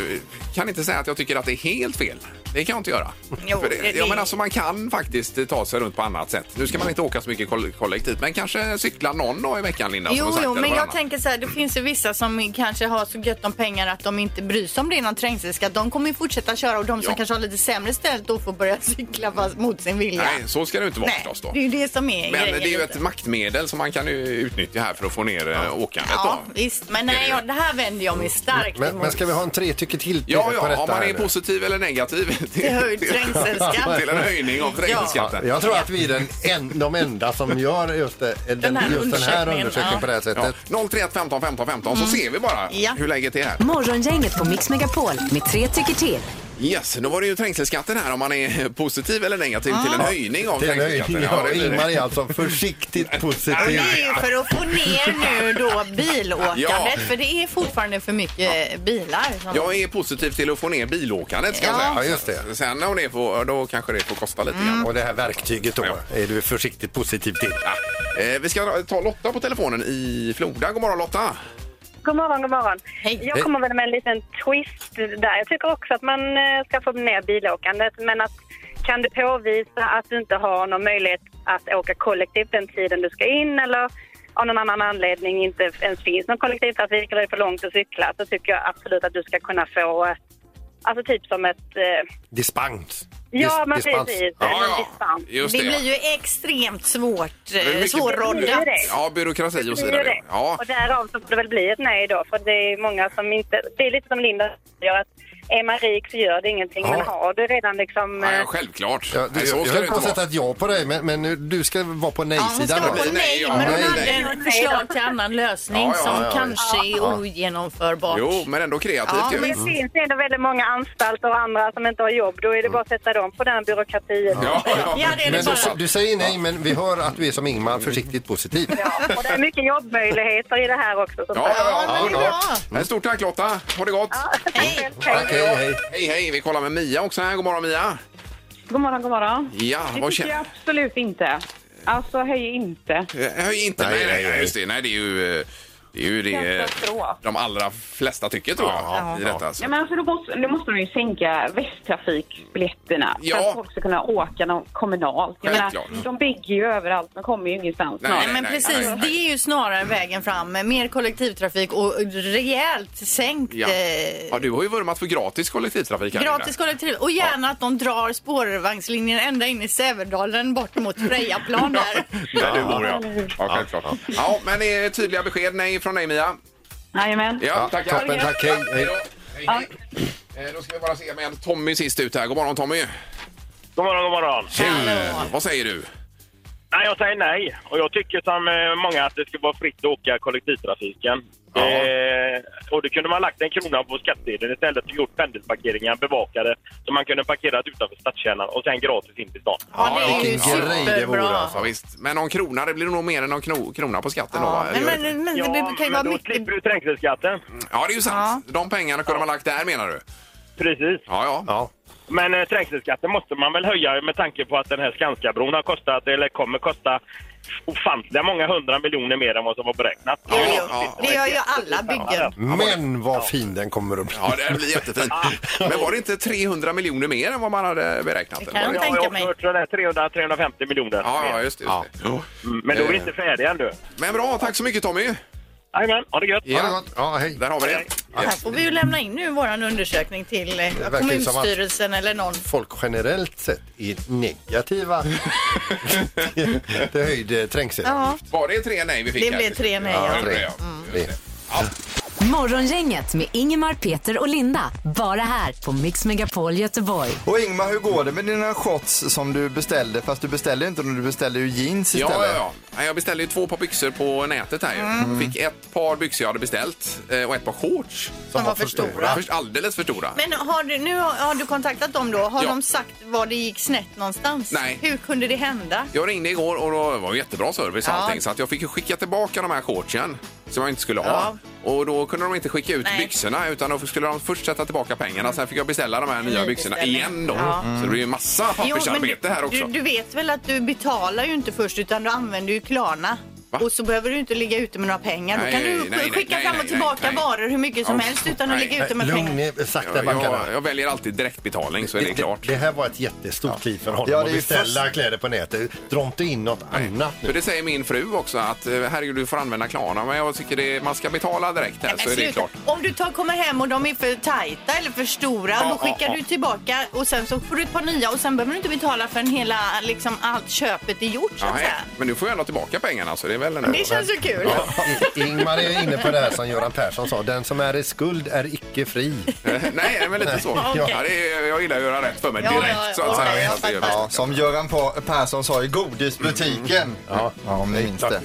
S2: kan inte säga att jag tycker att det är helt fel. Det kan jag inte göra.
S5: Jo,
S2: För det,
S5: det-
S2: ja, men alltså, man kan faktiskt eh, ta sig runt på annat sätt. Nu ska man inte åka så mycket koll- kollektivt men kanske cykla någon dag i veckan Linda. som
S4: Jo,
S2: har sagt,
S4: jo,
S2: eller
S4: men jag
S2: varannan.
S4: tänker så här,
S2: *clears throat*
S4: det finns ju vissa som kanske har så gött om pengar att de inte bryr sig om det är någon trängselskatt. De kommer ju fortsätta köra och de som
S2: Ja.
S4: kanske har lite sämre ställt då får börja *laughs* cykla fast mot sin vilja.
S2: Nej, så ska det ju inte vara förstås då.
S4: det är ju det som är
S2: Men
S4: grejen.
S2: det är ju
S4: lite.
S2: ett maktmedel som man kan ju utnyttja här för att få ner ja. åkandet.
S4: Ja,
S2: Då.
S4: visst. Men nej, jag, det här vänder jag mig starkt
S3: Men, men
S4: emot.
S3: ska vi ha en tre tycker till
S2: Ja,
S3: på
S2: ja,
S3: detta?
S2: om man
S3: här
S2: är
S3: nu?
S2: positiv eller negativ till,
S4: höjd
S2: *laughs*
S4: trängselskatt.
S2: till en höjning av trängselskatten.
S3: Jag tror att vi är den en, de enda som gör just, det, den,
S4: Den här
S3: just den här
S4: undersökningen,
S3: undersökningen
S4: ja.
S3: på det här sättet.
S2: 031 15 15 15 så ser vi bara
S4: Mm. Ja.
S2: hur läget är här.
S1: Morgongänget på Mix Megapol med tre tycker till.
S2: Yes, nu var det ju trängselskatten här om man är positiv eller negativ till en höjning av
S3: Till en
S2: trängselskatten.
S3: höjning.
S2: Ja,
S3: Ja,
S2: det blir det.
S3: Ingmar är alltså försiktigt
S4: Det
S3: positiv.
S4: är ju för att få ner nu då bilåkandet.
S2: Ja.
S4: För det är fortfarande för mycket bilar. Som...
S2: Jag är positiv till att få ner bilåkandet ska jag
S4: Ja.
S2: säga.
S3: Ja, just det. Mm.
S2: Sen när hon är på, då kanske det får kosta lite grann.
S3: Och det här verktyget då är du försiktigt positiv till.
S2: Ja. Eh, vi ska ta Lotta på telefonen i Floda. God morgon Lotta!
S6: God morgon, god morgon.
S4: Hej.
S6: Jag kommer väl med en liten twist där. Jag tycker också att man eh, ska få ner bilåkandet, men att kan du påvisa att du inte har någon möjlighet att åka kollektivt den tiden du ska in eller av någon annan anledning inte ens finns någon kollektivtrafik eller det är för långt att cykla så tycker jag absolut att du ska kunna få eh, Alltså typ som ett... eh,
S3: Dispens.
S6: Ja,
S3: Dis-
S6: men
S3: dispens.
S6: precis.
S2: Ja,
S6: någon
S2: ja.
S6: dispens.
S2: Just
S4: det
S2: det.
S4: blir ju extremt svårt, eh,
S2: Det är mycket-
S4: svårroddat.
S6: Det är det.
S2: Ja, byråkrati och
S6: blir
S2: så
S6: ju
S2: vidare.
S6: det.
S2: Ja.
S6: Och därav så får det väl bli ett nej då. För det är många som inte... Det är lite som Linda säger att är man rik så gör det ingenting.
S3: Ja.
S6: Men har du redan liksom...
S2: Ja, ja,
S6: eh,
S2: självklart.
S3: Ja, du,
S2: Nej, så
S3: jag
S2: ska det
S3: höll på
S2: inte
S3: att sätta
S2: vara.
S3: ett ja på dig, men, men nu- du ska vara på
S4: Ja, hon ska
S3: nej-sidan.
S4: vara
S3: då.
S4: på
S2: Nej,
S4: nej,
S2: ja,
S4: men hon
S3: nej,
S4: hade
S2: nej.
S4: en förslag till annan lösning
S2: Ja, ja,
S4: som
S2: ja, ja.
S4: kanske är ogenomförbart.
S2: Jo, men ändå kreativt
S4: Ja,
S2: typ ju. Mm.
S4: men-
S6: eh, Det finns ju ändå väldigt många anstalter och andra som inte har jobb. Då är det bara att sätta dem på den byråkratin.
S2: Ja, ja.
S4: Ja, det är det
S3: Men
S4: bara.
S3: du, du säger nej, men vi hör att du är som Ingmar, försiktigt positiv.
S6: Ja, och det är mycket jobbmöjligheter i det här också. som
S2: Ja, ja, ja,
S4: men det är
S2: klart.
S4: bra.
S2: Men Stort tack Lotta, ha det gott!
S4: Hej.
S3: Tack, Mm. hej, hej.
S2: Hej hej, vi kollar med Mia också här. God morgon Mia!
S14: God morgon, god morgon.
S2: Ja,
S14: Det
S2: vad
S14: tycker jag
S2: känner...
S14: absolut inte. Alltså, höj inte.
S2: Höj inte
S3: Nej,
S2: nej, nej,
S3: nej,
S2: nej, just det. Nej, det är ju... eh, Det är ju det eh,
S14: Katastrof.
S2: de allra flesta tycker tror jag. I detta. Så.
S14: Nej, men alltså, då, måste, då måste de ju sänka västtrafikbiljetterna
S2: Ja.
S14: för att folk ska kunna åka någon kommunalt. Jag
S2: Självklart.
S14: menar, de bygger ju överallt, de kommer ju ingenstans.
S2: Nej,
S14: snart.
S4: Nej, men
S2: nej,
S4: precis.
S2: nej, nej.
S4: Det är ju snarare vägen fram. med Mer kollektivtrafik och rejält sänkt
S2: Ja.
S4: eh,
S2: Ja, du har ju vurmat för gratis kollektivtrafik här
S4: gratis
S2: inne.
S4: kollektiv. Och gärna att de drar spårvagnslinjen ända in i Sävedalen bort mot Frejaplan där.
S2: Där du bor ja. Ja, självklart. Ja, men det är tydliga besked. Nej från dig Mia.
S14: Jajamän.
S2: Ja, tack.
S3: toppen, tack. Hej, hej.
S2: då. Hej, hej. Eh, Då ska vi bara se med Tommy sist ut här. God morgon Tommy!
S15: God morgon, god morgon.
S2: Eh, Vad säger du?
S15: Nej, jag säger nej. Och jag tycker som eh, många att det ska vara fritt att åka kollektivtrafiken.
S2: Ja.
S15: Eh, och då kunde man lagt en krona på skattsedeln istället och gjort pendelparkeringar bevakade så man kunde parkera utanför stadskärnan och sen gratis in till stan.
S4: Ja, det är ju
S3: vilken grej det vore,
S4: superbra.
S3: alltså.
S2: Ja, visst. Men någon krona, det blir nog mer än någon kno, krona på skatten då va?
S4: Ja, men, men, men det kan ju
S15: men
S4: vara
S15: då
S4: mycket...
S15: slipper du trängselskatten.
S2: Ja, det är ju sant. De pengarna kunde man lagt där menar du?
S15: Precis.
S2: Ja, ja.
S3: Ja.
S15: Men eh, trängselskatten måste man väl höja med tanke på att den här Skanskabron har kostat, eller kommer kosta, ofantliga många hundra miljoner mer än vad som var beräknat. Det är ju något som inte
S4: Det gör ju
S15: riktigt
S4: alla
S15: stämmer.
S4: byggen.
S3: Men vad fin den kommer att bli.
S2: Ja, det blir jättefint. Men var det inte 300 miljoner mer än vad man hade beräknat?
S15: Det kan jag tänka mig. Jag har också hört 300-350 miljoner.
S2: Ja, ja, just det. Just det.
S15: Mm, Men då är vi inte färdiga ännu.
S2: Men bra, tack så mycket Tommy.
S15: Jajamän, ha det gött.
S2: Ja.
S3: Ja, hej.
S2: Där har vi det.
S5: Här får vi ju lämna in nu våran undersökning till eh,
S3: verkar ju
S5: kommunstyrelsen eller någon.
S3: *laughs* Folk generellt sett är negativa *laughs* till höjd trängsel.
S5: Ja.
S2: Var det tre nej vi fick?
S5: Det
S2: här?
S5: blev tre nej, ja.
S2: det blev jag.
S4: Mm.
S1: Morgongänget med Ingemar, Peter och Linda. Bara här på Mix Megapol Göteborg.
S8: Och Ingmar, hur går det med dina shots som du beställde? Fast du beställde ju inte dem, du beställde ju jeans
S2: Ja,
S8: istället.
S2: ja, ja. Nej, Jag beställde ju två par byxor på nätet här ju.
S8: Mm.
S2: Fick ett par byxor jag hade beställt eh, och ett par shorts. Som
S4: var för stora.
S2: Först- Alldeles för stora.
S4: Men har du, nu har, har du kontaktat dem då? Har
S2: Ja.
S4: de sagt var det gick snett någonstans?
S2: Nej.
S4: Hur kunde det hända?
S2: Jag ringde igår och då var det jättebra service och
S4: Ja.
S2: allting så att jag fick ju skicka tillbaka de här shortsen som jag inte skulle ha.
S4: Ja.
S2: Och då kunde de inte skicka ut
S4: Nej.
S2: byxorna utan då skulle de först sätta tillbaka pengarna. Sen fick jag beställa de här nya byxorna
S4: Nybeställning.
S2: igen då.
S4: Ja.
S2: Så det blir ju massa pappersarbete här också.
S4: du, du vet väl att du betalar ju inte först utan du använder ju Klarna. Och så behöver du inte ligga ute med några pengar.
S2: Nej,
S4: då kan du
S2: nej, nej,
S4: skicka
S2: nej,
S4: fram
S2: nej,
S4: och tillbaka
S2: nej, nej.
S4: varor hur mycket som
S2: Usch,
S4: helst utan att
S2: nej.
S4: ligga ute med pengar.
S3: Lugn, sakta
S2: jag, jag,
S3: backarna.
S2: jag väljer alltid direktbetalning så är det, klart.
S3: Det här var ett jättestort kliv för honom
S2: Ja, det
S3: att
S2: är ju
S3: beställa
S2: först-
S3: kläder på nätet. Dra inte in något annat nu.
S2: För det säger min fru också att eh, herregud du får använda Klarna men jag tycker det, man ska betala direkt här så är det
S4: Sluta.
S2: klart.
S4: Om du tar, kommer hem och de är för tajta eller för stora
S2: Ja,
S4: då
S2: ja,
S4: skickar
S2: ja.
S4: du tillbaka och sen så får du ett par nya och sen behöver du inte betala förrän hela, liksom, allt köpet är gjort. Så att
S2: Nej,
S4: säga.
S2: men nu får jag ändå tillbaka pengarna så det är väl ändå.
S4: Det känns ju kul.
S2: Ja.
S3: I- Ingmar är inne på det här som Göran Persson sa. Den som är i skuld är icke fri.
S2: Nej,
S8: *laughs*
S2: men lite så.
S3: Okej.
S2: Ja, det är, jag gillar att göra rätt för mig direkt. så att säga.
S8: Ja,
S2: Så det gör vi.
S8: ja, som Göran Pa- Persson sa i godisbutiken. Mm. Ja, om
S2: Mm.
S8: ni minns det.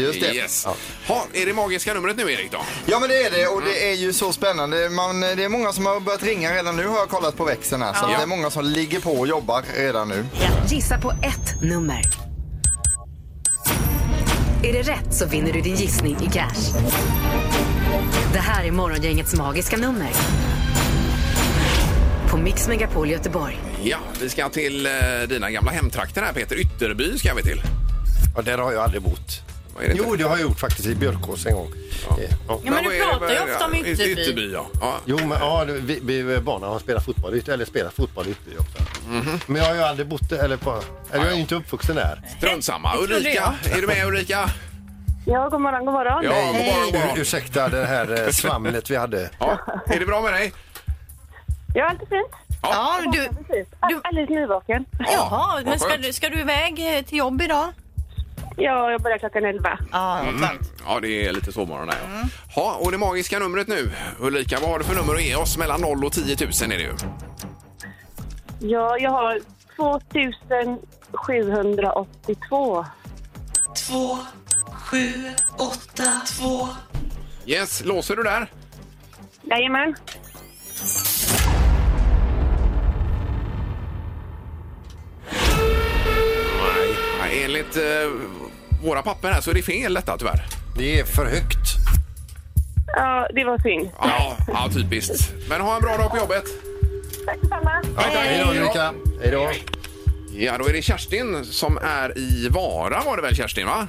S8: Just det.
S2: Yes. Ha, är det magiska numret nu, Erik? Då?
S8: Ja men det är det och det är ju så spännande. Man, det är många som har börjat ringa redan nu har jag kollat på växeln här. Så
S1: Ja.
S8: det är många som ligger på och jobbar redan nu.
S1: Gissa på ett nummer. Är det rätt så vinner du din gissning i cash. Det här är Morgongängets magiska nummer. På Mix Megapol Göteborg.
S2: Ja, vi ska till eh, dina gamla hemtrakter här, Peter. Ytterby ska vi till.
S3: Ja, där har jag aldrig bott. Jo, det har jag gjort faktiskt i Björkås en gång. Eh, Ja.
S2: men du pratar ju ofta om
S5: Ytterby.
S2: Ytterby, ja.
S3: Jo, men ja, det- vi, vi barna har spelat fotboll i- eller spelat fotboll i Ytterby också.
S2: Mhm.
S3: Men jag har ju aldrig bott där, eller på, eller jag är ju inte uppvuxen där.
S2: Strunt samma. Ulrika, är du med Ulrika?
S14: Ja, god morgon, god morgon.
S3: Ur, ursäkta det här eh, svamlet vi hade.
S2: Ja, är det bra med dig?
S14: Ja, allt är fint.
S4: Ja, du,
S14: du... Alldeles nyvaken.
S5: Jaha, men ska du, ska du iväg eh, till jobb idag?
S14: Ja, jag börjar klockan elva.
S4: Ja,
S2: Mm. Ja, det är lite sovmorgon där. Ja. Ha, och det magiska numret nu, Ulrika, vad har du för nummer att ge oss? Mellan 0 och 10 000 är det ju.
S14: Ja, jag har 2782.
S16: 2, 7, 8, 2.
S2: Yes, låser du där?
S14: Jajamän.
S2: Nej. Nej enligt eh, våra papper här så är det fel detta tyvärr.
S3: Det är för högt.
S14: Ja, det var synd.
S2: Ja, ja typiskt. Men ha en bra dag på jobbet.
S14: Tack detsamma.
S3: Hej då, Ulrika. Hej då.
S2: Ja, då är det Kerstin som är i Vara var det väl Kerstin va?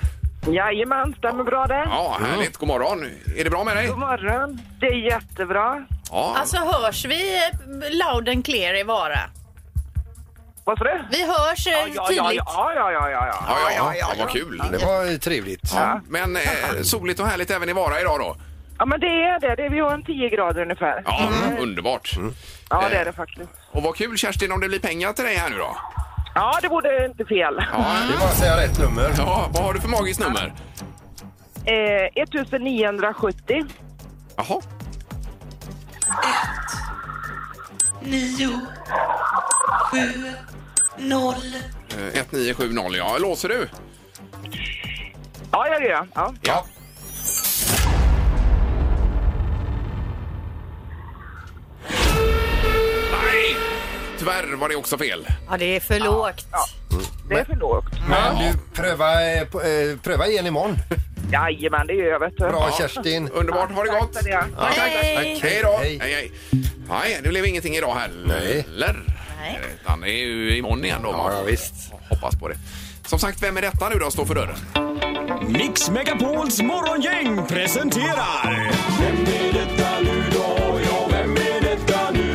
S17: Jajamän, stämmer bra det.
S2: Ja, härligt. God morgon. Är det bra med dig?
S17: God morgon. Det är jättebra.
S2: Ja.
S5: Alltså hörs vi eh, loud and clear i Vara?
S17: Vad sa du?
S5: Vi hörs eh,
S17: Ja, ja, ja,
S5: tydligt.
S17: ja, ja, ja, ja,
S2: Ja, ja, ja, vad kul.
S3: Det var trevligt.
S2: Ja, men eh, soligt och härligt även i Vara idag då.
S17: Ja, men det är det. det är, vi har en 10 grader ungefär.
S2: Ja, underbart.
S3: Mm.
S17: Ja, det är
S2: Eh,
S17: det faktiskt.
S2: Och vad kul Kerstin om det blir pengar till dig här nu då.
S17: Ja, det vore inte fel.
S3: Det var att säga rätt nummer.
S2: Ja, vad har du för magiskt nummer?
S17: Eh, 1970.
S2: Jaha.
S16: 9, 7, 0.
S2: Eh, 1970 ja. Låser du?
S17: Ja, ja, ja. ja.
S2: Ja. Nej! Tyvärr var det också fel.
S4: ja, det är för lågt.
S17: Det är för lågt.
S3: Men du, pröva, eh, på- eh, pröva igen imorgon.
S17: Jajamän, det gör jag. Vet du.
S3: Bra Kerstin.
S2: Underbart. Ha det gott!
S17: Tack för det.
S2: Tack, tack.
S17: Hej.
S2: Hej då! Hej, hej. Nej, det blev ingenting idag heller. Nej. Utan det är ju imorgon igen då. Ja, visst. Hoppas på det. Som sagt, vem är detta nu då står för dörren?
S18: Mix Megapols morgongäng presenterar... Vem är detta nu då? Ja, vem är detta nu?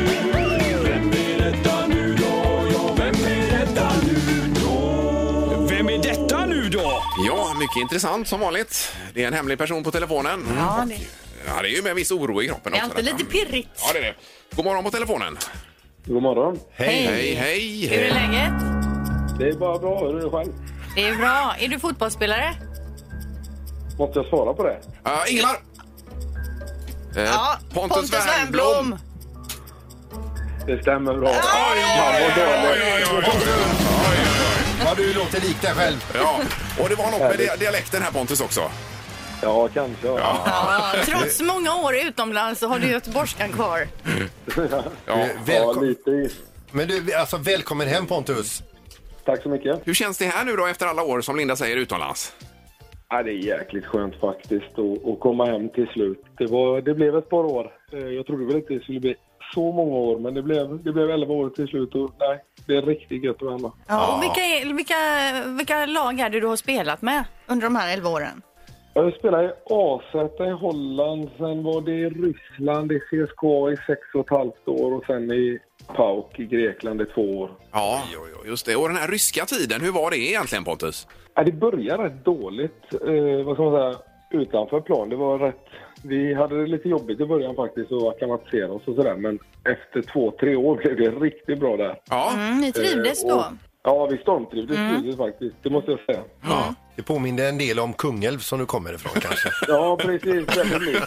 S18: Vem är detta nu då? Ja, vem är detta nu då? Vem är detta nu då?
S2: Ja, mycket intressant som vanligt. Det är en hemlig person på telefonen.
S5: Ja, det
S2: Ja, det är ju med viss oro i kroppen
S5: det är
S2: också.
S5: alltid
S2: detta.
S5: lite pirrigt.
S2: Ja, det är det. God morgon på telefonen.
S19: God morgon.
S2: Hej. Hej, hej.
S5: Hur är läget?
S19: Det är bara bra. Hur är det själv?
S5: Det är bra. Är du fotbollsspelare?
S19: Måste jag svara på det?
S2: Uh, Ingemar!
S5: Ja,
S2: Pontus Wernbloom.
S19: Det stämmer bra.
S2: Ja, du låter lik dig själv. Ja, och det var något med dia- dialekten här Pontus också.
S19: Ja, kanske.
S5: Ja, trots många år utomlands så har du göteborgskan kvar.
S2: Ja,
S19: lite.
S3: Men du, alltså välkommen hem Pontus.
S19: Tack så mycket.
S2: Hur känns det här nu då efter alla år som Linda säger utomlands?
S19: Ja, det är jäkligt skönt faktiskt att, att komma hem till slut. Det, var, det blev ett par år. Eh, Jag trodde väl inte det skulle bli så många år, men det blev, det blev 11 år till slut. Och, nej, det är riktigt gött att vara hemma.
S5: Ja, och vilka, är- vilka, vilka lag är det du har spelat med under de här 11 åren?
S19: Jag spelade i AZ i Holland, sen var det i Ryssland, i CSKA i sex och ett halvt år och sen i PAOK i Grekland i två år.
S2: Ja, jo, jo, just det. Och den här ryska tiden, hur var det egentligen Pontus?
S19: Ja, det började rätt dåligt, eh, vad ska man säga, utanför plan. Det var rätt, vi hade det lite jobbigt i början faktiskt och acklimatisera oss och sådär. Men efter två, tre år *laughs* blev det riktigt bra där. Eh,
S2: Ja.
S5: Mm, ni trivdes då? Mm.
S19: och, ja, vi stormtrivdes precis faktiskt, det måste jag säga.
S3: Ja. Det påminner en del om Kungälv som du kommer ifrån kanske.
S19: Ja, precis. Väldigt likt.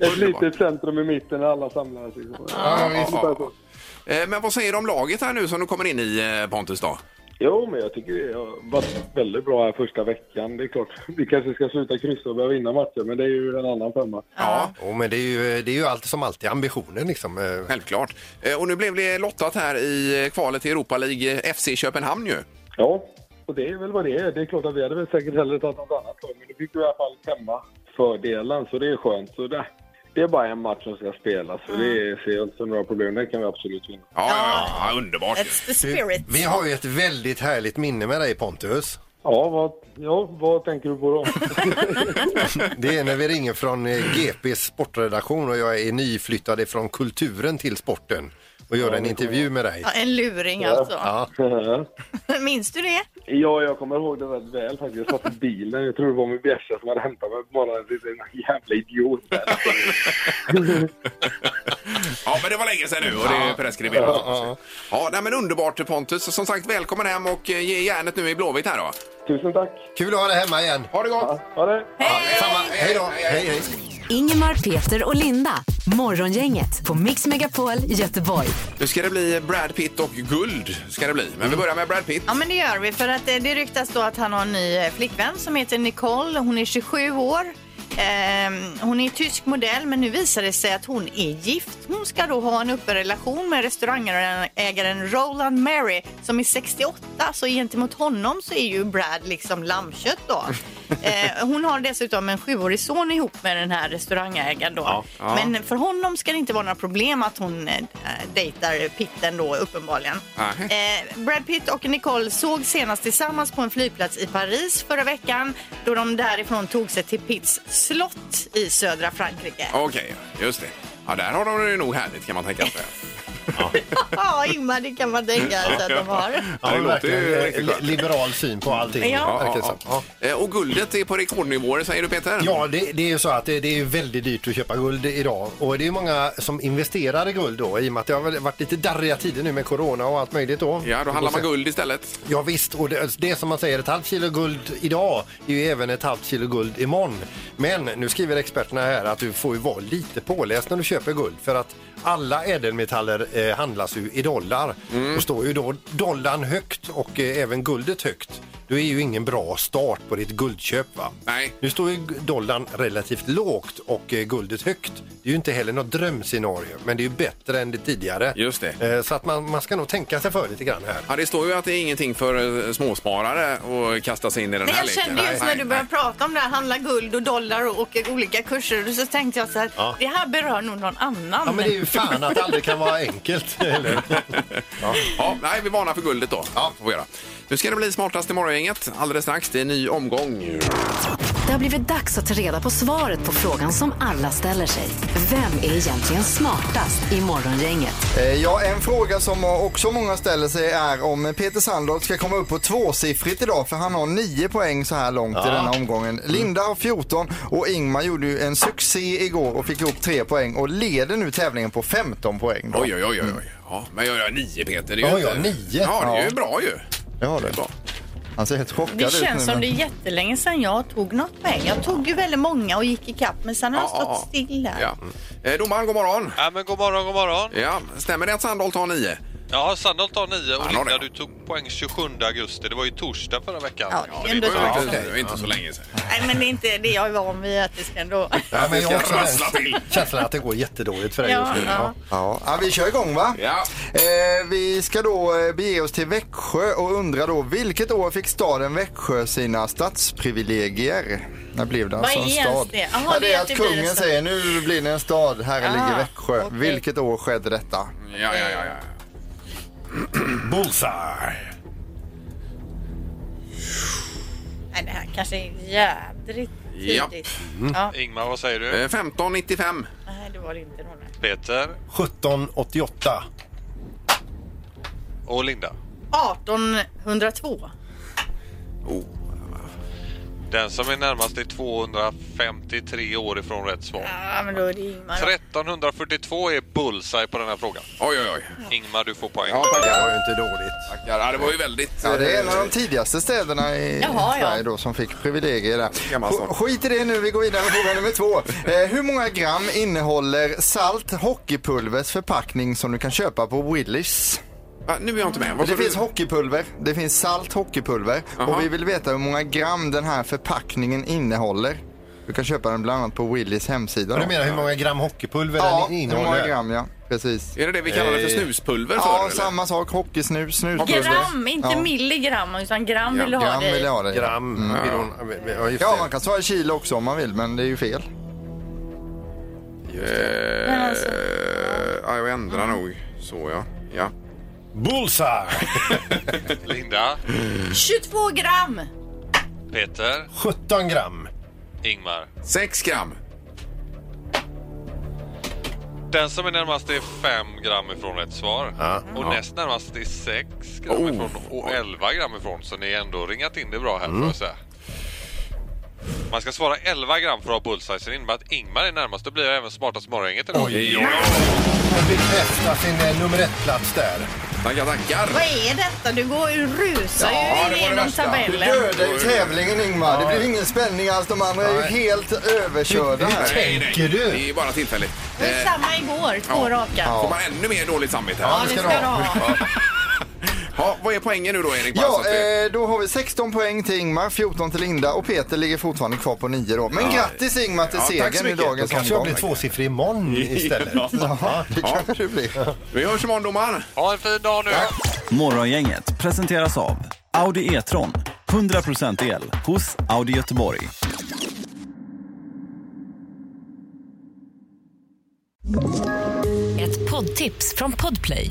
S19: Ett litet centrum i mitten där alla samlades. Liksom. Ungefär så.
S2: Eh, Men vad säger du om laget här nu som du kommer in i eh, Pontus då?
S19: Jo, men jag tycker det har varit väldigt bra här första veckan. Det är klart, vi kanske ska sluta kryssa och börja vinna matcher, men det är ju en annan femma.
S2: Ja.
S3: Jo, men det är ju, det är ju allt som alltid ambitionen liksom. Eh,
S2: Självklart. Eh, Och nu blev det lottat här i eh, kvalet till Europa League eh, FC Köpenhamn ju.
S19: Ja, och det är väl vad det är. Det är klart att vi hade väl säkert hellre tagit något annat lag, men nu fick vi i alla fall hemma fördelen, så det är skönt. Så det, det är bara en match som ska spelas, så det ser jag inte som några problem. Det kan vi absolut vinna.
S2: Mm. Ja, ja, ja underbart.
S5: It's the spirit.
S3: Vi har ju ett väldigt härligt minne med dig Pontus.
S19: Ja, vad, ja, vad tänker du på
S2: *laughs*
S19: då?
S3: Det är när vi ringer från eh, GPs sportredaktion och jag är nyflyttad ifrån kulturen till sporten och gör en intervju med dig.
S5: Ja, en luring alltså.
S19: Ja.
S5: *laughs* Minns du det?
S19: Ja, jag kommer ihåg det rätt väl faktiskt. Jag satt i bilen. Jag tror det var min bjärsa som hade hämtat mig på morgonen. Det är en jävla idiot.
S2: Ja, men det var länge sedan nu och det är preskriberat.
S19: Ja,
S2: Ja, nej, men underbart Pontus. Som sagt, välkommen hem och eh, ge järnet nu i Blåvitt här då.
S19: Tusen tack.
S3: Kul att ha dig hemma igen.
S2: Ha det gott!
S19: Ha det!
S3: Hej då! Hej, hej.
S1: Ingemar, Peter och Linda. Morgongänget på Mix Megapol Göteborg.
S2: Nu ska det bli Brad Pitt och guld. Ska det bli. Men
S3: Mm.
S2: vi börjar med Brad Pitt.
S4: Ja, men det gör vi. För att eh, det ryktas då att han har en ny eh, flickvän som heter Nicole. Hon är 27 år. Ehm, hon är tysk modell, men nu visar det sig att hon är gift. Hon ska då ha en öppen relation med restaurangägaren Roland Mary som är 68. Så gentemot honom så är ju Brad liksom lammkött
S5: *laughs*
S4: då. Eh, hon har dessutom en sjuårig son ihop med den här restaurangägaren då.
S5: ja.
S4: Men för honom ska det inte vara några problem att hon eh, dejtar Pitten då uppenbarligen.
S5: Nej.
S4: Eh, Brad Pitt och Nicole såg senast tillsammans på en flygplats i Paris förra veckan då de därifrån tog sig till Pitts slott i södra Frankrike.
S2: Okej, just det. Ja, där har de det nog härligt kan man tänka sig.
S4: *laughs* ja, Ingmar, det kan man tänka sig att de har.
S2: Ja, det låter ju
S3: verkligen, eh,
S2: riktigt skönt.
S3: li- liberal syn på allting.
S2: Ja.
S3: verkar det som.
S2: Ja, Eh, Och guldet är på rekordnivåer säger du Peter?
S3: Ja, det, det är ju så att det, det är ju väldigt dyrt att köpa guld idag och det är ju många som investerar i guld då i och med att det har väl varit lite darriga tider nu med corona och allt möjligt då.
S2: Ja, då handlar man guld istället.
S3: Ja visst, och det, det är som man säger, ett halvt kilo guld idag är ju även ett halvt kilo guld imorgon. Men nu skriver experterna här att du får ju vara lite påläst när du köper guld för att alla ädelmetaller
S2: Mm.
S3: eh, handlas ju i dollar. Och står ju då dollarn högt och eh, även guldet högt. då är ju ingen bra start på ditt guldköp. Va?
S2: Nej.
S3: Nu står ju dollarn relativt lågt och eh, guldet högt. Det är ju inte heller något drömscenario, men det är ju bättre än det tidigare.
S2: Just det.
S3: Eh, Så att man, man ska nog tänka sig för lite grann här.
S2: Ja, det står ju att det är ingenting för eh, småsparare att kasta sig in i den
S4: Nej,
S2: här
S4: jag
S2: leken.
S4: kände just när du började prata om det här, handla guld och dollar och, och olika kurser, så tänkte jag så här,
S2: Ja.
S4: det här berör nog någon annan.
S3: Ja, men det är ju fan att det aldrig kan vara
S2: *laughs*
S3: enkelt. Eller?
S2: Ja. Ja, nej, vi varnar för guldet då. Ja. Får vi göra. Nu ska det bli smartast i morgongänget alldeles strax. Det är en ny omgång.
S1: Det har blivit dags att ta reda på svaret på frågan som alla ställer sig. Vem är egentligen smartast i Morgongänget?
S8: Eh, Ja, en fråga som också många ställer sig är om Peter Sandholt ska komma upp på tvåsiffrigt idag för han har nio poäng så här långt i
S20: Ja.
S8: denna omgången. Linda har 14 och Ingmar gjorde ju en succé igår och fick ihop tre poäng och leder nu tävlingen på 15 poäng. då.
S2: Oj, oj, oj. oj. Ja, men jag gör nio, Peter. Det är
S8: Ja,
S2: ju
S8: ja, nio.
S2: Ja, det är ju
S8: Ja.
S2: bra ju.
S8: Ja, det är bra. Han ser helt chockad
S4: *laughs* Det
S8: ut nu,
S4: känns som
S8: men-
S4: det är jättelänge sedan jag tog något poäng. Jag tog ju väldigt många och gick ikapp, men sen har jag
S2: Ja, ja,
S4: stått stilla.
S2: Ja. Eh, Domaren, god morgon.
S21: Ja, men god morgon, god morgon.
S2: Ja, stämmer det att Sandholt har nio?
S21: Ja, Sandholt har 9
S2: Han
S21: och
S2: har
S21: Linda du tog poäng 27 augusti. Det var ju torsdag förra veckan.
S4: Ja,
S21: Så det
S4: ändå
S21: var ju
S4: så.
S21: verkligen-
S2: Det är inte så länge sedan.
S4: Nej, men det är inte det jag är van vid att det ska ändå...
S3: Ja, men jag har också
S2: trassla
S3: den känslan att det går jättedåligt för dig
S4: Ja,
S3: just nu.
S4: ja.
S8: Ja, ja, vi kör igång va?
S2: Ja.
S8: Eh, vi ska då eh, bege oss till Växjö och undra då vilket år fick staden Växjö sina stadsprivilegier? När blev det
S4: Vad
S8: alltså en
S4: är
S8: stad?
S4: ens det? Jaha,
S8: ja, det är
S4: det är
S8: att
S4: att det blir
S8: kungen
S4: en stad.
S8: säger nu blir det en stad, här
S4: Ah,
S8: ligger Växjö.
S4: okej.
S8: Vilket år skedde detta?
S2: Ja, ja, ja. ja. Bullseye!
S4: Nej, det här kanske är jädrigt
S2: Ja. Eh,
S4: tidigt.
S21: Mm. Ingmar, vad säger du?
S2: 1595.
S4: Nej, det var det inte. Någon.
S21: Peter
S3: 1788.
S21: och Linda.
S4: 1802.
S21: Den som är närmast är 253 år ifrån rätt svar.
S4: Ja, men då är det Ingmar.
S21: 1342 är bullseye på den här frågan.
S2: Oj, oj,
S21: oj. Ingmar, du får poäng.
S2: Ja, tackar. Det var
S3: ju inte dåligt.
S2: Tackar. Ja, det var ju väldigt...
S8: Ja, det är en av de tidigaste städerna i
S2: Jaha, ja.
S8: Sverige då som fick privilegier där.
S2: Gammal
S8: Sk-
S2: stad.
S8: Skit i det nu, vi går vidare med fråga nummer två. Eh, hur många gram innehåller salt hockeypulvers förpackning som du kan köpa på Willys?
S2: nu är jag inte med.
S8: Det finns hockeypulver, det finns salt hockeypulver och vi vill veta hur många gram den här förpackningen innehåller. Du kan köpa den bland annat på Willys hemsida.
S3: Du
S8: då.
S3: menar hur många gram hockeypulver
S8: Ja,
S3: den
S8: hur
S3: innehåller? Eh,
S8: många gram ja, precis.
S2: Är det det vi kallade för snuspulver
S8: ja,
S2: förr,
S8: Ja,
S2: eller?
S8: samma sak. Hockeysnus, snuspulver.
S4: Gram, inte
S8: Ja.
S4: milligram, utan gram vill du ha
S8: Gram
S4: det i.
S8: vill jag ha Mm. det.
S3: Gram vill hon- ja, just
S8: ja,
S3: det.
S8: man kan svara kilo också om man vill, men det är ju fel.
S2: Eh,
S8: alltså-
S2: ja, jag ändrar nog. Så ja. ja. *laughs*
S3: Bullseye!
S21: Linda,
S4: 22 gram!
S21: Peter,
S3: 17 gram.
S21: Ingmar.
S2: 6 gram.
S21: Den som är närmast är 5 gram ifrån rätt svar. Och näst närmast är 6 gram
S2: Oh.
S21: ifrån och 11 gram ifrån. Så ni har ändå ringat in det bra här
S2: Mm.
S21: får jag säga. Man ska svara 11 gram för att ha bullseye. Så det innebär att Ingmar är närmast. Då blir jag även smartast i morgongänget idag.
S3: Hon bekräftar sin eh, nummer ett-plats där.
S2: Tackar, tackar.
S4: Vad är detta? Du går ju rusar ju igenom
S8: Du
S4: tabellen.
S8: dödar ju tävlingen Ingmar. Det blir ingen spänning alls. De andra är ju helt överkörda här.
S2: tänker du? Det är ju bara tillfälligt.
S4: Det var ju
S2: Eh,
S4: samma igår, två raka.
S2: Får man ännu mer dåligt samvete här?
S8: Ja, det ska du ha.
S2: ja, vad är poängen nu då, Erik? Bara så
S3: Alltså,
S8: Ja,
S2: att vi-
S3: typ.
S8: eh, då har vi 16 poäng till Ingmar, 14 till Linda och Peter ligger fortfarande kvar på 9 då. eh, Men
S3: Ja.
S8: grattis Ingmar till
S3: Ja, tack så
S8: segern i
S3: mycket.
S8: dagens
S3: Då kanske jag
S8: omgång.
S3: blir tvåsiffrig
S8: *laughs*
S3: imorgon istället.
S8: Ja, det kanske det blir.
S2: Vi hörs imorgon, domaren.
S21: Ha en fin dag nu.
S22: Morgongänget presenteras av Audi E-tron. 100% el hos Audi Göteborg.
S23: Ett poddtips från Podplay.